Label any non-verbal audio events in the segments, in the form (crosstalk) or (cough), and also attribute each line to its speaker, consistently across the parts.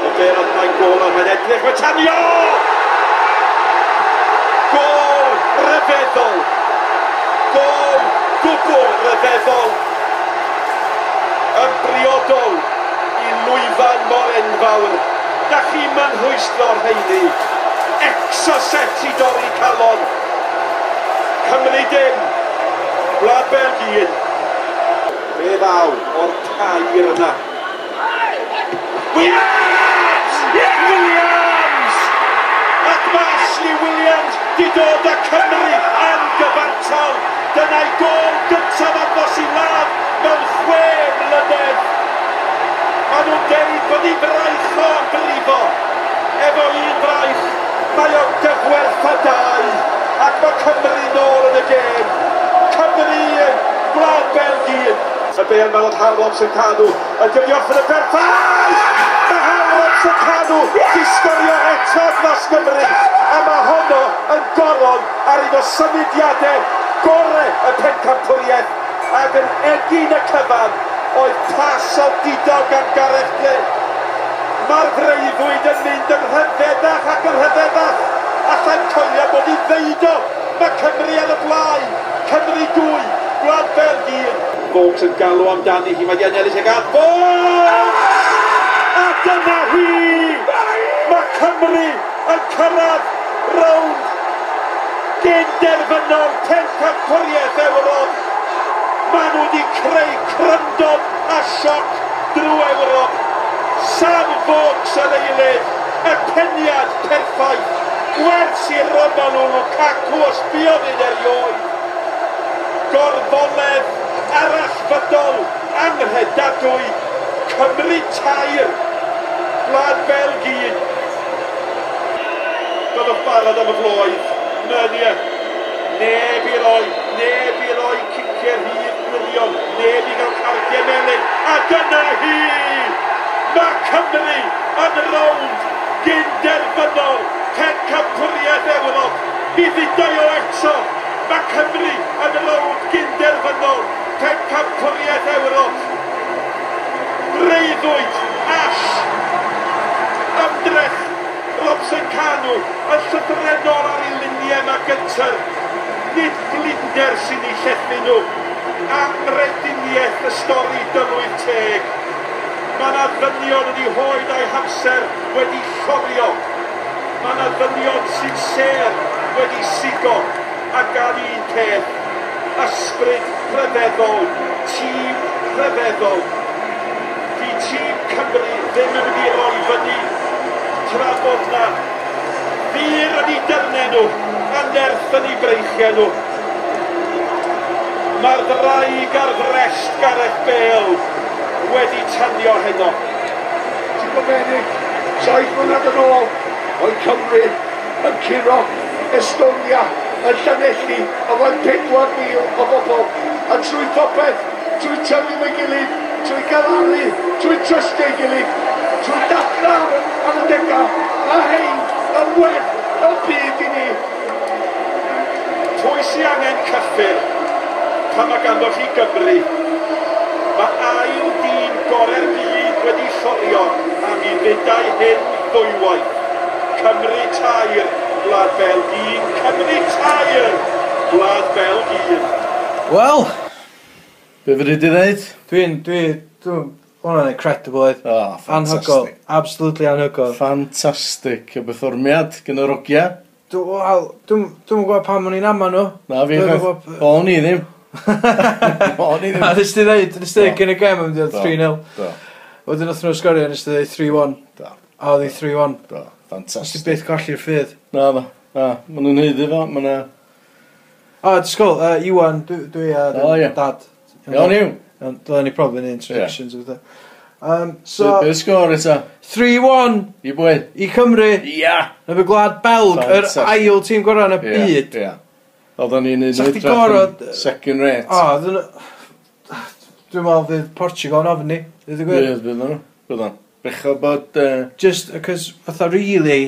Speaker 1: anghywir, ond mae'n gol, ond mae'n edrych, mae'n tanio! Gol ryfeddol! Gol gwbl ryfeddol! Yn briodol i lwyfan mor enfawr. Da chi manhwystro'r heini. Exoset i dorri calon. Cymru dim. Gwlad Belgi un. Fe ddaw o'r cair yna. Williams! Williams! Ac mae Ashley Williams di dod â Cymru yn gyfantal. Dyna'i gol gyntaf agos i ladd mewn chwe mlynedd. Maen nhw'n deud bod ei fraich o'n brifo. Efo un fraich, mae o'n gyfwerth a dau. Ac mae Cymru nôl yn y gêm. Cymru un, Gwlad Belgi un. Y Beirn Melod Harlops yn cadw, y dywioff yn y berffaith! Mae Harlops yn cadw, di sgorio eto dros Gymru, a mae honno yn goron ar un o symudiadau gore y pencampwriaeth, ac yn egin y cyfan oedd pas o didog gan Gareth Bale. Mae'r freuddwyd yn mynd yn rhyfeddach ac yn rhyfeddach, allan coelio bod i ddeudo, mae Cymru ar y blaen, Cymru 2, Gwlad Belgi 1. Fogs yn galw amdani hi, mae Ian Ellis ag at Fogs! A dyna hi! Mae Cymru yn cyrraedd rownd genderfynol pencampwriaeth Ewrop. Maen nhw wedi creu cryndod a sioc drwy Ewrop. Sam Fogs yn eilydd, y peniad perffaith. Gwers i Romelu Lukaku osbiodd un erioed. Gorfoledd arallfydol anghredadwy Cymru tair Gwlad Belgi Doedd o barod am y floedd Nynia Neb i roi Neb i roi ciciau hir gwirion Neb i gael cardiau melyn A dyna hi Mae Cymru yn rownd gynderfynol Pen Campwriaeth Ewrop I ddidau o eto Mae Cymru yn rownd gynderfynol Pen Campwriaeth Ewrop. Reiddwyd, Ash, ymdrech, Robson Canw, y llyfrenor ar ei luniau yma gyntaf. Nid blinder sy'n ei llethu nhw. Amrediniaeth y stori dylwydd teg. Mae yna ddynion wedi hoed a'i hamser wedi llorio. Mae yna ddynion sy'n ser wedi sigo a gael un peth ysbryd rhyfeddol, tîm rhyfeddol. Di tîm Cymru ddim yn mynd i roi fyny tra bod na fyr yn eu dyrnau nhw, a nerth yn eu breichiau nhw. Mae'r ddraig ar ddrest Gareth Bale wedi tanio heno.
Speaker 2: Ti'n gobenig, saith mlynedd yn ôl, oedd Cymru yn curo Estonia yn Llanelli a mae'n pedwar mil o bobl a trwy popeth, trwy tyfu mewn gilydd, trwy galaru, trwy trystio ei gilydd, trwy datra ar y dega a hein yn werth y byd i ni.
Speaker 1: Pwy sy'n angen cyffur pan mae ganddo chi Gymru? Mae ail dîm gorau'r byd wedi llorio am i ddydau hyn ddwywaith. Cymru tair, Gwlad Belgi un. Cymru tair, Gwlad Belgi un.
Speaker 3: Wel, be fyddi di ddeud?
Speaker 4: Dwi'n, dwi, dwi'n, hwnna'n incredible oedd.
Speaker 3: O, oh,
Speaker 4: Anhygol,
Speaker 3: ffantastig.
Speaker 4: absolutely anhygol.
Speaker 3: Ffantastig. Y bythwrmiad gen yr ogia.
Speaker 4: Dw- Wel, dwi'n gwybod pam o'n i'n ama nhw.
Speaker 3: Na fi,
Speaker 4: Dwi'm yn
Speaker 3: chwaith.
Speaker 4: gwbod-
Speaker 3: O, ni
Speaker 4: (laughs)
Speaker 3: ddim. O, ni
Speaker 4: Na,
Speaker 3: ddim.
Speaker 4: nes ti ddeud, nes ti
Speaker 3: Do.
Speaker 4: ddeud gyn y gem am ddeud
Speaker 3: Do.
Speaker 4: 3-0.
Speaker 3: Do,
Speaker 4: Wedyn oedd nhw'n sgorio, nes ti ddeud 3-1.
Speaker 3: do,
Speaker 4: A oedd hi 3-1.
Speaker 3: do.
Speaker 4: Nes ti
Speaker 3: Ffantastig.
Speaker 4: byth colli'r ffydd.
Speaker 3: Na, na. Na, maen nhw'n heiddi fo. Maen nhw...
Speaker 4: O, disgwyl, uh, Iwan, dwi, dwi a
Speaker 3: O, ie.
Speaker 4: dad.
Speaker 3: Iawn i'w.
Speaker 4: Iawn, Dylen ni probably neud introductions yeah. Um,
Speaker 3: So...
Speaker 4: so,
Speaker 3: Be sgor eto?
Speaker 4: 3-1
Speaker 3: I bwy?
Speaker 4: i Cymru,
Speaker 3: Ia!
Speaker 4: na fe gwlad Belg, yr
Speaker 3: Fantastic.
Speaker 4: ail tîm gorau yn y byd.
Speaker 3: Ia. Oedden ni'n neud
Speaker 4: Sa chdi
Speaker 3: edrach yn
Speaker 4: gorod-
Speaker 3: Second rate.
Speaker 4: O, ddyn nhw- dwi'n meddwl fydd Portugal yn ofyn ni, dwi'n gwir.
Speaker 3: Ie, bydd nhw. Bydd nhw. Becho bod... yy,
Speaker 4: Just, cos, fatha really,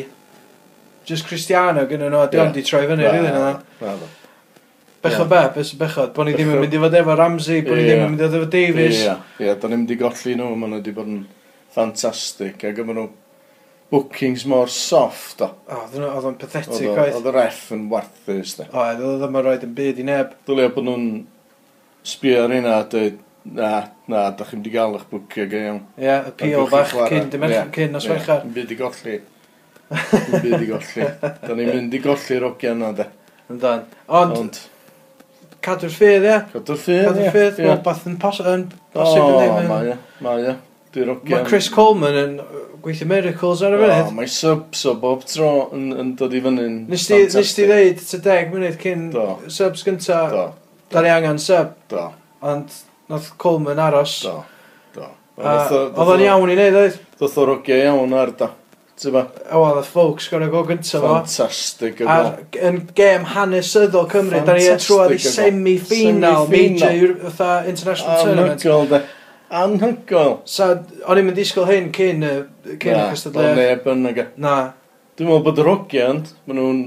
Speaker 4: just Cristiano gyda nhw,
Speaker 3: Ie.
Speaker 4: dwi'n di troi fyny,
Speaker 3: na,
Speaker 4: rili na.
Speaker 3: na, na.
Speaker 4: Bechod be, beth sy'n bechod, bod ni ddim yn
Speaker 3: Bechod-
Speaker 4: mynd i fod efo Ramsey, bod ni
Speaker 3: Ie.
Speaker 4: ddim yn mynd i fod efo Davies.
Speaker 3: Ie, ie, da ni'n mynd i golli nhw, maen nhw wedi bod yn ffantastig, ac maen nhw bookings mor soft o.
Speaker 4: O, oedd hwnna- oedd o'n pathetic
Speaker 3: Oedd o-
Speaker 4: oedd.
Speaker 3: Oedd y ref yn warthus da.
Speaker 4: Oedd, oedd ddim yn rhoi'n byd i neb.
Speaker 3: Dylio bod nhw'n sbio ar hynna a dweud, na, na, da chi'n di gael eich bwcio go iawn.
Speaker 4: Ie, yeah, appeal bach cyn, dim
Speaker 3: Ie,
Speaker 4: yn cyn os
Speaker 3: ie,
Speaker 4: fechar.
Speaker 3: Dim byd i golli. Dim byd i golli. Da ni'n mynd i golli'r ogiau yna da.
Speaker 4: Yndan. Ond,
Speaker 3: Ond,
Speaker 4: cadw'r ffydd, ie.
Speaker 3: cadw'r ffydd,
Speaker 4: Cadw'r ffydd, mae'n bath yn posib yn bosib yn
Speaker 3: O,
Speaker 4: ddim.
Speaker 3: mae e, mae e. Dwi'n ogiau.
Speaker 4: Mae Chris Coleman yn yy, gweithio miracles ar y
Speaker 3: O,
Speaker 4: funud.
Speaker 3: Mae subs o bob tro yn, yn dod i fyny'n
Speaker 4: Nes ti nes ti
Speaker 3: fantastic.
Speaker 4: ddeud ta deg munud cyn
Speaker 3: Do.
Speaker 4: subs gynta,
Speaker 3: Do,
Speaker 4: dar i angen sub,
Speaker 3: do,
Speaker 4: ond nath Coleman aros.
Speaker 3: do, do.
Speaker 4: A Oedd o'n iawn i neud, oedd?
Speaker 3: Doth o'r ogiau iawn ar da. Tyba,
Speaker 4: O, oedd y folks gorau go gynta fo.
Speaker 3: ffantastig o
Speaker 4: A
Speaker 3: gol.
Speaker 4: yn gêm hanesyddol Cymru, da ni yn
Speaker 3: Ffantastig
Speaker 4: trwad i
Speaker 3: o gol.
Speaker 4: semi-final
Speaker 3: Semi-final. Oh
Speaker 4: major Euro- fatha international tournament.
Speaker 3: Anhygol, de. Anhygol.
Speaker 4: So, o'n i'n mynd disgwyl hyn cyn y cyn y
Speaker 3: Na, o
Speaker 4: cystadleuaeth.
Speaker 3: neb yn aga.
Speaker 4: Na,
Speaker 3: Dwi'n meddwl bod yr ogiau ond, maen nhw'n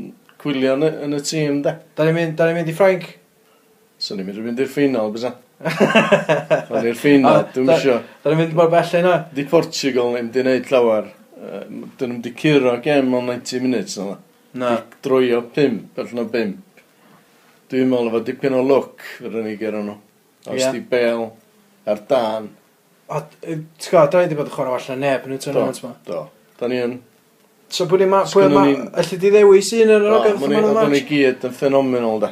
Speaker 3: gwylio yn y, yn y tîm, de.
Speaker 4: da ni'n mynd, da ni'n mynd i Frank.
Speaker 3: So ni'n mynd i fynd i'r ffinal,
Speaker 4: (laughs)
Speaker 3: bysa. Ond i'r ffinal,
Speaker 4: A,
Speaker 3: dwi'n
Speaker 4: da-
Speaker 3: mysio.
Speaker 4: Da ni'n mynd mor bell yna.
Speaker 3: Di Portugal ni'n di wneud llawer. Yy, Dyn nhw'n di curo gem o 90 minutes yna.
Speaker 4: Na.
Speaker 3: Droi o 5, allan o 5. Dwi'n meddwl efo dipyn o look fyrwn ni gyrra nhw. Os
Speaker 4: Ie.
Speaker 3: di Bale, ar Dan.
Speaker 4: O, yy, ti'n gwybod, da ni wedi bod yn chwarae allan neb yn y tournament
Speaker 3: Do,
Speaker 4: yma.
Speaker 3: do. Da ni yn.
Speaker 4: So, pwy ni'n ma... Pwy
Speaker 3: Sgynnon
Speaker 4: ma...
Speaker 3: ni-
Speaker 4: Alli di ddewis un yn yr
Speaker 3: Do,
Speaker 4: ogan
Speaker 3: ma' ni-
Speaker 4: ffynon y
Speaker 3: Oedden ni
Speaker 4: match?
Speaker 3: gyd yn ffenomenol da.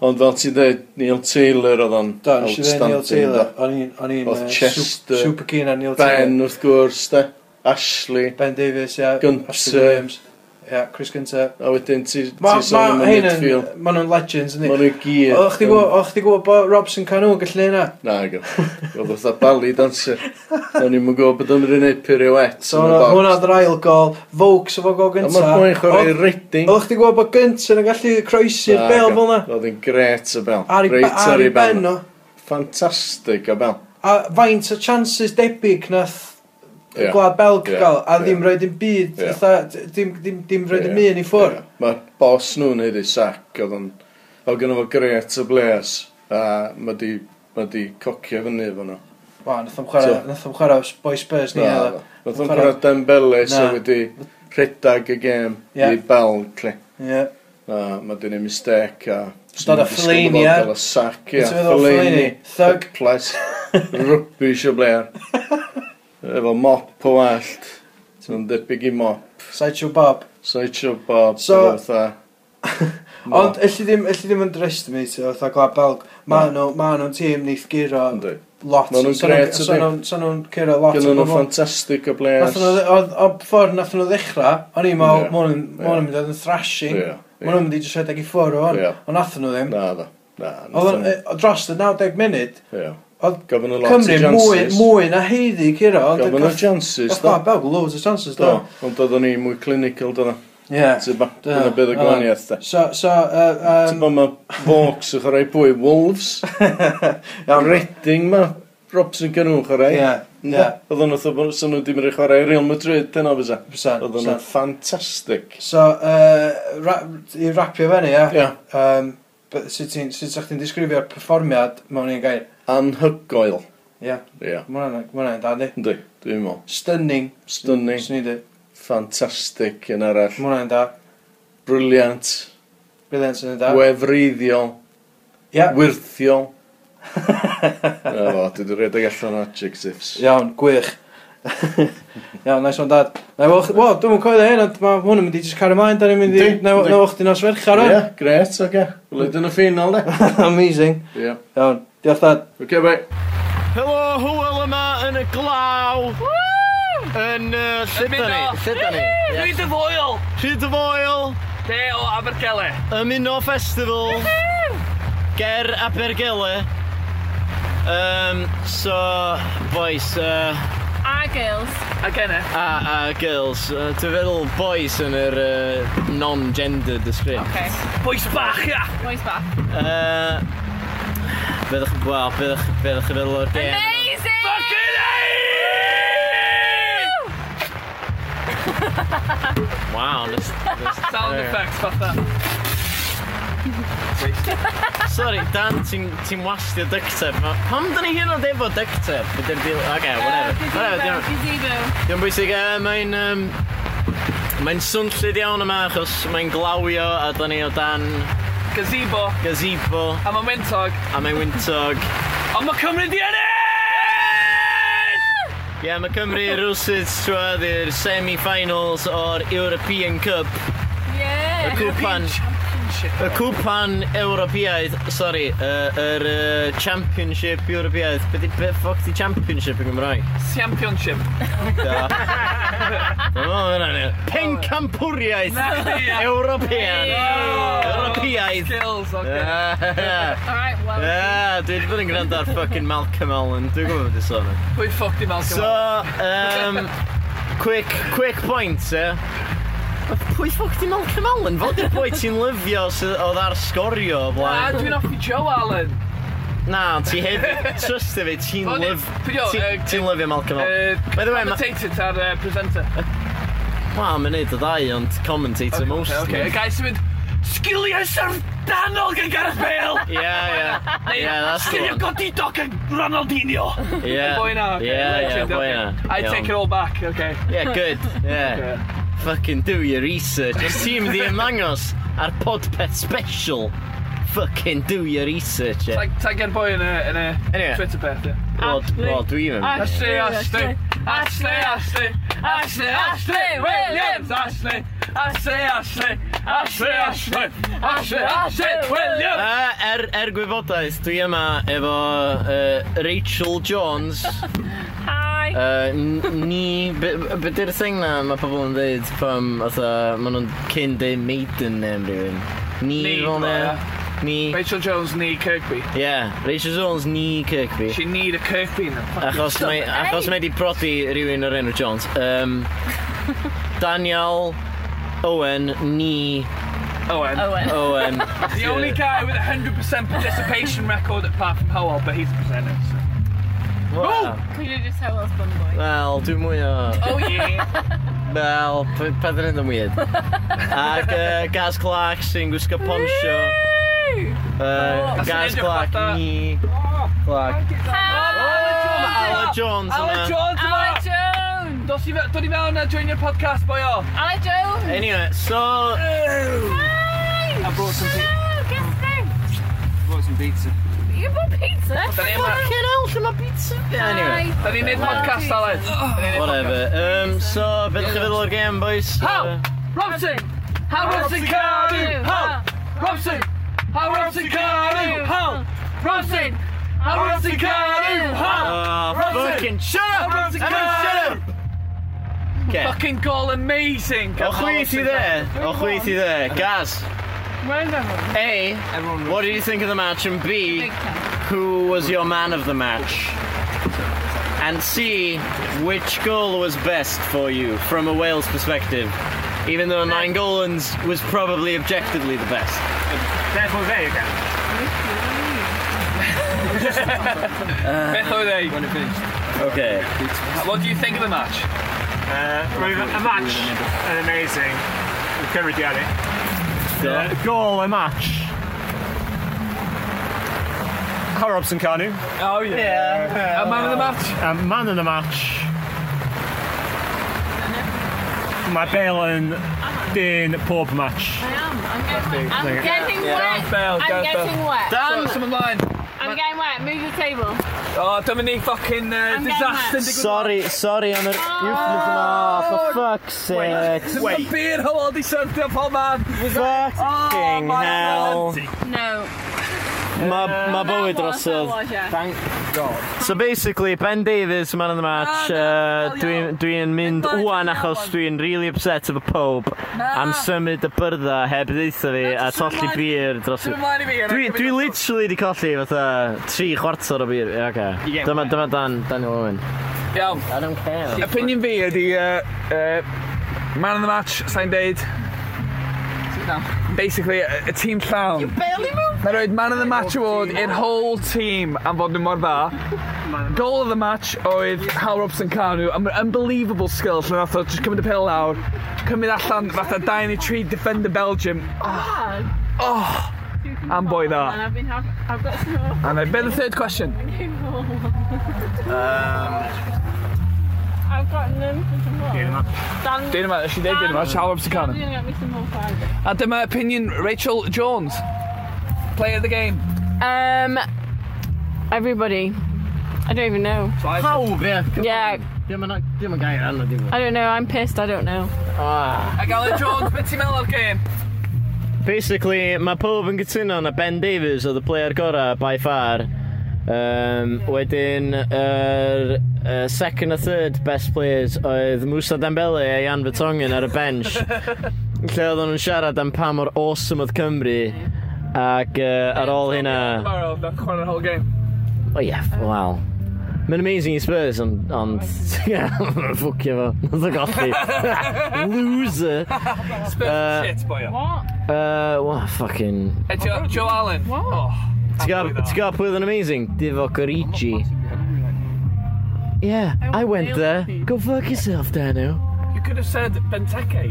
Speaker 3: Ond fel ti'n dweud, Neil Taylor oedd o'n
Speaker 4: Da, nes i ddweud Neil Taylor. O'n i'n- o'n i'n
Speaker 3: Oedd
Speaker 4: yy,
Speaker 3: Chester,
Speaker 4: sup- super keen ar Neil Taylor.
Speaker 3: Ben wrth gwrs da. Ashley.
Speaker 4: Ben Davies, ia.
Speaker 3: Gunter.
Speaker 4: Ashley Williams. Ia, Chris Gunter.
Speaker 3: A wedyn ti
Speaker 4: Ma,
Speaker 3: ti
Speaker 4: ma,
Speaker 3: sôn am y
Speaker 4: hyn yn,
Speaker 3: midfield.
Speaker 4: ma nhw'n legends, ynddi?
Speaker 3: Mae nhw gyd.
Speaker 4: O'ch chdi
Speaker 3: yn-
Speaker 4: gwybod, o'ch chdi gwybod bod Robson Canu yn gallu neud na?
Speaker 3: Na, gyda. Oedd oedd bali danser. O'n i'n gwybod bod o'n rhywun neud pirouette.
Speaker 4: So hwnna- hwnna oedd yr ail gol, Vokes efo gol
Speaker 3: Ond
Speaker 4: gynta.
Speaker 3: mae'r bwy'n chwarae
Speaker 4: O'ch-
Speaker 3: redding.
Speaker 4: O'ch chdi gwybod bod Gunter yn gallu croesi'r bel fel na?
Speaker 3: Oedd hi'n gret o bel.
Speaker 4: Ar i,
Speaker 3: Reit
Speaker 4: ar i ben o.
Speaker 3: Fantastic o bel.
Speaker 4: A faint o chances debyg nath y
Speaker 3: Ie.
Speaker 4: gwlad Belg
Speaker 3: Ie.
Speaker 4: gael, a
Speaker 3: Ie.
Speaker 4: ddim roed yn byd,
Speaker 3: Ie.
Speaker 4: fatha, dim, dim, dim roed yn
Speaker 3: Ie,
Speaker 4: mynd i ffwrdd.
Speaker 3: ie. Mae'r bos nhw'n neud i sac. Oedd o'n... Oedd gynnu fo gret o bles. A mae di... Mae di cocio fyny efo nhw.
Speaker 4: Wa, nath o'n chwarae,
Speaker 3: So-
Speaker 4: nath o'n chwarae Boy Spurs ni.
Speaker 3: Na,
Speaker 4: oedd o?
Speaker 3: Oedd o'n
Speaker 4: Chwarae-
Speaker 3: chwarae Dembele
Speaker 4: Na.
Speaker 3: sy'n wedi rhedag y gêm
Speaker 4: Ie.
Speaker 3: i Belg. lle.
Speaker 4: Ie.
Speaker 3: A mae dyn ni'n mistec a...
Speaker 4: Dod â Fellaini, ie.
Speaker 3: Dod o sac, ie.
Speaker 4: Ti'n meddwl Fellaini? Thug.
Speaker 3: Plus, rubbish o blair. Efo mop o allt. Ti'n debyg i mop.
Speaker 4: Sideshow Bob.
Speaker 3: So i siw bob.
Speaker 4: So-
Speaker 3: Ond...
Speaker 4: (laughs) Ond elli ddim, elli ddim yn underestimate o fatha Gwlad Belg. Ma nhw, ma nhw'n tîm neith giro
Speaker 3: Ynddi.
Speaker 4: lot.
Speaker 3: Ma' nhw'n
Speaker 4: So nhw'n-
Speaker 3: grêt,
Speaker 4: so
Speaker 3: ydyn.
Speaker 4: nhw'n- So nhw'n curo lot o
Speaker 3: Gynnu nhw
Speaker 4: bobl.
Speaker 3: ffantastig o blair.
Speaker 4: Nath nhw, dde- oedd, oedd ffordd nath nhw ddechrau, o'n i'n meddwl,
Speaker 3: Ie.
Speaker 4: ma' nhw'n ma'
Speaker 3: Ie.
Speaker 4: nhw'n mynd i fod yn thrashing.
Speaker 3: Ie, ie.
Speaker 4: Ma' nhw'n mynd i just rhedeg i ffwrdd o hwn,
Speaker 3: Ie.
Speaker 4: ond nath nhw ddim.
Speaker 3: Na, da. Na.
Speaker 4: Oedd o'n- yy, dros y 90 munud,
Speaker 3: Ie.
Speaker 4: oedd
Speaker 3: Gofyn nhw lot o
Speaker 4: Cymru mwy,
Speaker 3: chances.
Speaker 4: mwy na heiddi curo, ond
Speaker 3: Gofyn nhw chances,
Speaker 4: Oedd
Speaker 3: da.
Speaker 4: Gwlad Belg loads o chances,
Speaker 3: Do.
Speaker 4: do.
Speaker 3: Ond oedd o'n i mwy clinical, do.
Speaker 4: Ie.
Speaker 3: Ti'n ba?
Speaker 4: Do,
Speaker 3: Dyna bydd y
Speaker 4: do.
Speaker 3: gwaniaeth, da.
Speaker 4: So, so, uh,
Speaker 3: Ti'n
Speaker 4: um,
Speaker 3: bod mae Vaux yn chwarae pwy? Wolves? Redding ma? Robson Canu yn chwarae?
Speaker 4: Ie,
Speaker 3: Ynde?
Speaker 4: ie.
Speaker 3: Oedd o'n wrth o bod sy'n nhw wedi mynd i chwarae i Real Madrid, dyna fysa.
Speaker 4: Fysa,
Speaker 3: Oedd
Speaker 4: fysa.
Speaker 3: o'n ffantastic.
Speaker 4: So, uh, ra i rapio fe ni, ia?
Speaker 3: Ie.
Speaker 4: Um, but sut ti'n sut sa chdi'n disgrifio'r perfformiad mewn un gair?
Speaker 3: Anhygoel.
Speaker 4: Ia,
Speaker 3: Ie.
Speaker 4: ma' hwnna'n ma' hwnna'n dad, di.
Speaker 3: Ynddi, dwi'n meddwl.
Speaker 4: Stunning.
Speaker 3: Stunning.
Speaker 4: Swn i di.
Speaker 3: Ffantastic yn arall.
Speaker 4: Ma' hwnna'n da.
Speaker 3: Briliant.
Speaker 4: Brilliant yn y da.
Speaker 3: Gwefriddiol.
Speaker 4: Ia.
Speaker 3: (laughs) Wirthiol. Na fo, dwi wedi rhedeg allan o adjectives.
Speaker 4: Iawn,
Speaker 3: (laughs)
Speaker 4: gwych. Iawn, nice one dad. Na i weld, wel, dwi'n mwyn coelio hyn, ond ma' hwn yn mynd i just cario mlaen, da ni'n mynd i,
Speaker 3: Yndi,
Speaker 4: na
Speaker 3: yndi.
Speaker 4: na o'ch di'n os ferchar
Speaker 3: Ie,
Speaker 4: o'n.
Speaker 3: gret, oge. Wled yn y ffinal, de.
Speaker 4: (laughs)
Speaker 3: (laughs)
Speaker 4: Amazing.
Speaker 3: Ie.
Speaker 4: Iawn, diolch dad.
Speaker 3: Oce, bye.
Speaker 5: Helo, hwyl yma yn y glaw. Yn uh, lle da ni? Lle da ni?
Speaker 6: Rhyd y foel!
Speaker 5: Rhyd y foel,
Speaker 6: De o Abergele.
Speaker 5: ymuno festival, ger Abergele. Um, so, boys, uh,
Speaker 7: A girls.
Speaker 6: A gene.
Speaker 5: a, a girls, uh, dwi'n feddwl boys yn yr uh, non-gender display.
Speaker 7: Okay.
Speaker 6: Boes bach, ia!
Speaker 7: Boys back.
Speaker 5: Uh, Byddwch, wel, byddwch, byddwch yn feddwl o'r gen.
Speaker 7: Amazing!
Speaker 6: Fucking hei!
Speaker 5: Wow, nes, nes,
Speaker 6: Sound effects, fatha.
Speaker 5: Sorry, Dan, ti'n ti wastio dicter. Ma- Pam dyn ni hyn o efo dicter? Byddai'n bil... Oce, whatever. Whatever, diolch. Dwi'n bwysig, uh, mae'n... Um, mae'n swnllid iawn yma achos mae'n glawio a da ni o dan
Speaker 6: Gazebo.
Speaker 5: gazebo
Speaker 6: A mae'n wyntog.
Speaker 5: a mae'n wyntog.
Speaker 6: Ond mae Cymru di ennill!
Speaker 5: Ie, yeah, mae Cymru rwsyd trwad i'r semi-finals o'r European Cup. Y cwpan... Y cwpan Ewropeaidd, sori, yr er, Championship Ewropeaidd. Be di, be ffoc di Championship yn Gymraeg?
Speaker 6: Championship.
Speaker 5: Da. Dyma fo hynna ni. Pencampwriaeth
Speaker 6: Na, ia.
Speaker 5: Ewropeaidd.
Speaker 6: Wow.
Speaker 5: Ewropeaidd.
Speaker 6: Oh, Skills, oce.
Speaker 5: (laughs) Ie,
Speaker 7: Alright, well.
Speaker 5: dwi wedi bod yn gwrando ar ffucking Malcolm Allen, dwi'n gwybod beth i sôn am.
Speaker 6: Pwy ffoc di Malcolm?
Speaker 5: So, um, quick, quick point, e. Pwy ffoc di Malcolm Allen? Fod i'r boi ti'n lyfio sydd oedd ar sgorio o
Speaker 6: A
Speaker 5: blaen.
Speaker 6: dwi'n offi Joe Allen.
Speaker 5: Na, ti hefyd, trust fi, ti'n
Speaker 6: O'n i-
Speaker 5: lyf...
Speaker 6: pwy o,
Speaker 5: ti-
Speaker 6: yy,
Speaker 5: Ti'n lyfio Malcolm Allen.
Speaker 6: Uh,
Speaker 5: By the way, ma-
Speaker 6: commentator ta'r uh, presenter.
Speaker 5: Wel, mae'n neud y ddau, ond commentator mostly.
Speaker 6: Okay, y gai sy'n mynd, sgiliau sardanol gan Gareth
Speaker 5: (laughs)
Speaker 6: Bale!
Speaker 5: Yeah, yeah. yeah, that's the
Speaker 6: Sgiliau
Speaker 5: one.
Speaker 6: godidog gan Ronaldinho!
Speaker 5: Yeah.
Speaker 6: Boy now, okay.
Speaker 5: Yeah, yeah,
Speaker 6: legend,
Speaker 5: boy
Speaker 6: okay.
Speaker 5: now.
Speaker 6: I
Speaker 5: Iawn.
Speaker 6: take it all back, okay.
Speaker 5: Yeah, good. Yeah.
Speaker 6: Okay.
Speaker 5: Fucking do your research. Os ti'n mynd i ymangos ar Podpeth Special, fucking do your research. eh.
Speaker 6: Tag, tag your boy in a, in a
Speaker 5: Anyway.
Speaker 6: Twitter path, yeah.
Speaker 5: Wel, well, dwi yn mynd.
Speaker 6: Ashley, Ashley, Ashley, Ashley, Ashley, Ashley, Williams, Ashley, Ashley, Ashley, Ashley, Ashley, Ashley, Ashley, Williams!
Speaker 5: Uh, er, er gwybodaeth, dwi yma efo uh, Rachel Jones. (laughs)
Speaker 7: Hi.
Speaker 5: Uh, ni... Be di'r thing na mae pobl yn dweud pam otha maen nhw'n cyn deud maiden neu rhywun. Ni,
Speaker 6: Ni,
Speaker 5: fel na.
Speaker 6: ie.
Speaker 5: Ni.
Speaker 6: Rachel Jones knee Kirkby.
Speaker 5: Yeah, Rachel Jones ni Kirkby.
Speaker 6: She need a Kirkby in the fucking (laughs)
Speaker 5: Achos mae, achos mae di prodi rhywun o'r enw Jones. Um, Daniel Owen, ni
Speaker 6: Owen.
Speaker 7: Owen.
Speaker 5: Owen.
Speaker 6: oh, (laughs) The only guy with a 100% participation record apart from Howell, but he's a presenter. So.
Speaker 5: Wow.
Speaker 7: Could you just tell us one boy?
Speaker 5: Wel, dwi'n mwy o...
Speaker 6: Oh yeah.
Speaker 5: Wel, p- pethau'n rhaid yn weird. Ac uh, Gaz Clark sy'n gwisgo poncho. Uh,
Speaker 6: Oh,
Speaker 5: Gaz
Speaker 6: syniad o
Speaker 5: Clark,
Speaker 6: fatha- Oh!
Speaker 5: ni Clark. Alan Jones
Speaker 6: (laughs) Alan
Speaker 5: yma.
Speaker 6: Jones yma.
Speaker 7: Alec Jones!
Speaker 6: Dos i fe- dod i mewn a join your podcast, boy oh? o.
Speaker 7: Alec Jones!
Speaker 5: Anyway, so...
Speaker 6: Oh.
Speaker 7: I
Speaker 6: brought some pi-
Speaker 7: Guess so.
Speaker 6: Brought some pizza.
Speaker 7: You bought pizza?
Speaker 6: Dyna ni yma.
Speaker 5: Fucking hell, lle mae pizza? Anyway,
Speaker 7: Hi.
Speaker 6: Dyna ni'n neud podcast, Alan. Da ni'n neud podcast.
Speaker 5: whatever. Um, so, beth chi'n feddwl o'r game, boys?
Speaker 6: How? Robson! How Robson Cardew! How? Robson! How Robson Cardew! How? Robson! How Robson Cardew! How?
Speaker 5: Oh,
Speaker 6: Robson!
Speaker 5: fucking shut up!
Speaker 6: Robson
Speaker 5: Emma, shut up! Okay.
Speaker 6: Fucking goal amazing!
Speaker 5: O chwith i dde, o chwith i dde. Gaz,
Speaker 7: Where's everyone?
Speaker 5: A, what did you think of the match? And B,
Speaker 7: Big time.
Speaker 5: who was your man of the match? And C, which goal was best for you from a Wales perspective? Even though Nangolan's was probably objectively the best.
Speaker 6: Therefore there you go. Beth oedd ei?
Speaker 5: Okay.
Speaker 6: What do you think of the match?
Speaker 8: Roedd y match yn amazing. Yn cymryd
Speaker 5: So,
Speaker 1: Uh,
Speaker 8: Gol y match. How Robson Carnu.
Speaker 6: Oh yeah. A man of the match?
Speaker 8: Um, man yn y match. Mae Bale yn dyn pob match.
Speaker 7: I am. I'm getting wet. I'm getting
Speaker 6: Gareth Bale,
Speaker 7: wet. I'm
Speaker 6: Gareth Bale.
Speaker 7: getting wet.
Speaker 5: Dan,
Speaker 6: Some of mine.
Speaker 7: I'm getting wet. Move your table.
Speaker 6: Oh, Dominique fucking uh,
Speaker 7: I'm getting
Speaker 6: disaster.
Speaker 7: that.
Speaker 5: sorry, sorry on the euphemism. Oh, for fuck's sake.
Speaker 6: Wait. Beer, how old is something up, oh man? Oh,
Speaker 5: Fucking
Speaker 6: my
Speaker 5: hell.
Speaker 6: God.
Speaker 7: No.
Speaker 5: Mae ma bywyd
Speaker 7: That was- that
Speaker 5: drosodd.
Speaker 7: was, yeah.
Speaker 5: So basically, Ben Davies, man of the match,
Speaker 6: Ah,
Speaker 7: Na,
Speaker 5: uh,
Speaker 7: na, na,
Speaker 5: dwi'n dwi yn mynd
Speaker 7: Dwi'n
Speaker 5: wwan
Speaker 7: gwybod
Speaker 5: achos
Speaker 7: hwnna.
Speaker 5: dwi'n really upset efo pob am symud y byrddau heb ddeitha fi a
Speaker 6: jyst
Speaker 5: tolli
Speaker 6: remind-
Speaker 5: bir dros y...
Speaker 6: Dwi'n ymlaen i fi.
Speaker 5: Dwi, dwi literally di colli fatha tri chwarter o bir. Ie, Oce.
Speaker 6: get
Speaker 5: Dyma,
Speaker 6: wet.
Speaker 5: dyma Dan, Daniel Owen.
Speaker 6: Iawn.
Speaker 5: I don't care.
Speaker 6: Opinion fi ydi uh, uh, man of the match, sa'n deud basically y y tîm llawn Mae roed man of the match award i'r whole team am fod nhw mor dda Goal of the match oedd Hal Robson Carnw am unbelievable skill lle nath o just cymryd y pil Ah. lawr cymryd allan fatha 2 neu 3 defender Belgium Oh, oh
Speaker 7: You can
Speaker 6: And boy
Speaker 7: follow
Speaker 6: that.
Speaker 7: And I've been have, I've got some more.
Speaker 6: And I've been the third question.
Speaker 7: I've got none for some more. Dan,
Speaker 6: Dyn yma, she did dyn yma, Siarad Robson
Speaker 7: Dan,
Speaker 6: Cannon.
Speaker 7: you're gonna get me some more Friday.
Speaker 6: A dyma opinion Rachel Jones. Player of the game.
Speaker 7: Um, everybody. I don't even know.
Speaker 5: Pawb, ie.
Speaker 7: Yeah,
Speaker 5: Dim yn dim yn gair anodd dim.
Speaker 7: I don't know. I'm pissed. I don't know.
Speaker 6: A Alan Jones, beth ti'n meddwl o'r game?
Speaker 5: Basically, mae pob yn gytuno na Ben Davies oedd y player gorau by far. Um, wedyn, yr uh, second a third best players oedd Musa Dembele a Jan Vertonghen ar y bench. lle oedden nhw'n siarad am pa mor awesome oedd Cymru. Ac uh, ar ôl hynna...
Speaker 6: Tomorrow, not corner whole game.
Speaker 5: O oh, yeah, wel. Mae'n amazing i Spurs, ond... ond (laughs) yeah, ffwcio fo. Nath o golli. Loser.
Speaker 6: Spurs shit, boy.
Speaker 7: What?
Speaker 5: Uh, well, fucking...
Speaker 6: Hey, Joe, Joe Allen. Oh,
Speaker 5: Ti'n gael- ti'n gael pwydd yn amazing? Divo Gorigi.
Speaker 6: Oh,
Speaker 5: Yeah, I went there. Go fuck yourself, Dano.
Speaker 6: you could have said Benteke.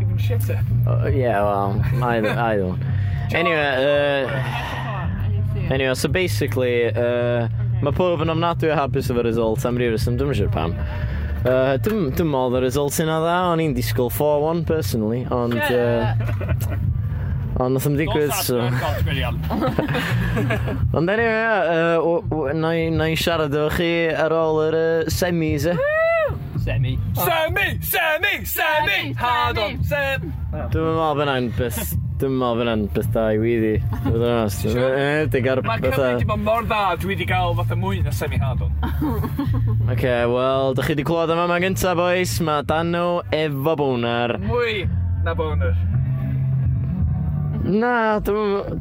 Speaker 6: Even shitter.
Speaker 5: Uh, yeah, well, I, don't- I don't. Anyway, uh, anyway, so basically, uh, mae pob yn ofnadwy o hapus efo'r result am ryw reswm, dwi'n siŵr pam. Uh, dim, dim modd y result yna dda, o'n i'n disgwyl 4-1 personally, ond... Uh, ond nath o'n digwydd, so... Ond anyway, yeah, uh, w- w- na i- na i siarad efo chi ar ôl yr uh, semis, e.
Speaker 6: (laughs) Sammy, Sammy, Sammy,
Speaker 7: Sammy,
Speaker 6: hard
Speaker 7: Sammy.
Speaker 6: on, Sam.
Speaker 5: Dwi'n meddwl bod hwnna'n beth... Dwi'n meddwl bod hwnna'n beth da i wedi. Dwi'n meddwl
Speaker 6: Sure.
Speaker 5: bod hwnna'n
Speaker 6: Mae
Speaker 5: beth da.
Speaker 6: Cymru wedi bod mor dda, dwi wedi gael fath o mwy na Sammy hard
Speaker 7: (laughs)
Speaker 6: on.
Speaker 5: Ok, wel, dych chi wedi clywed am yma gyntaf, boys. Mae Dano efo bwnar.
Speaker 6: Mwy na boner.
Speaker 5: Na, dwi'n...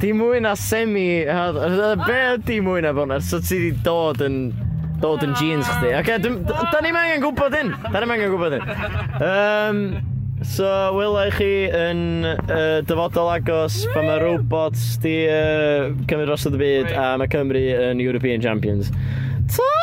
Speaker 5: Di mwy na semi... yy, Be ydi mwy na bwnar? So ti wedi dod yn... Dod yn jeans chdi. Ok, dwi'n- d- da ni'n angen gwybod hyn. Da ni'n angen gwybod hyn. Um, so, wyla i chi yn uh, dyfodol agos pan mae robots di uh, cymryd dros y byd a mae Cymru yn European Champions. Ta!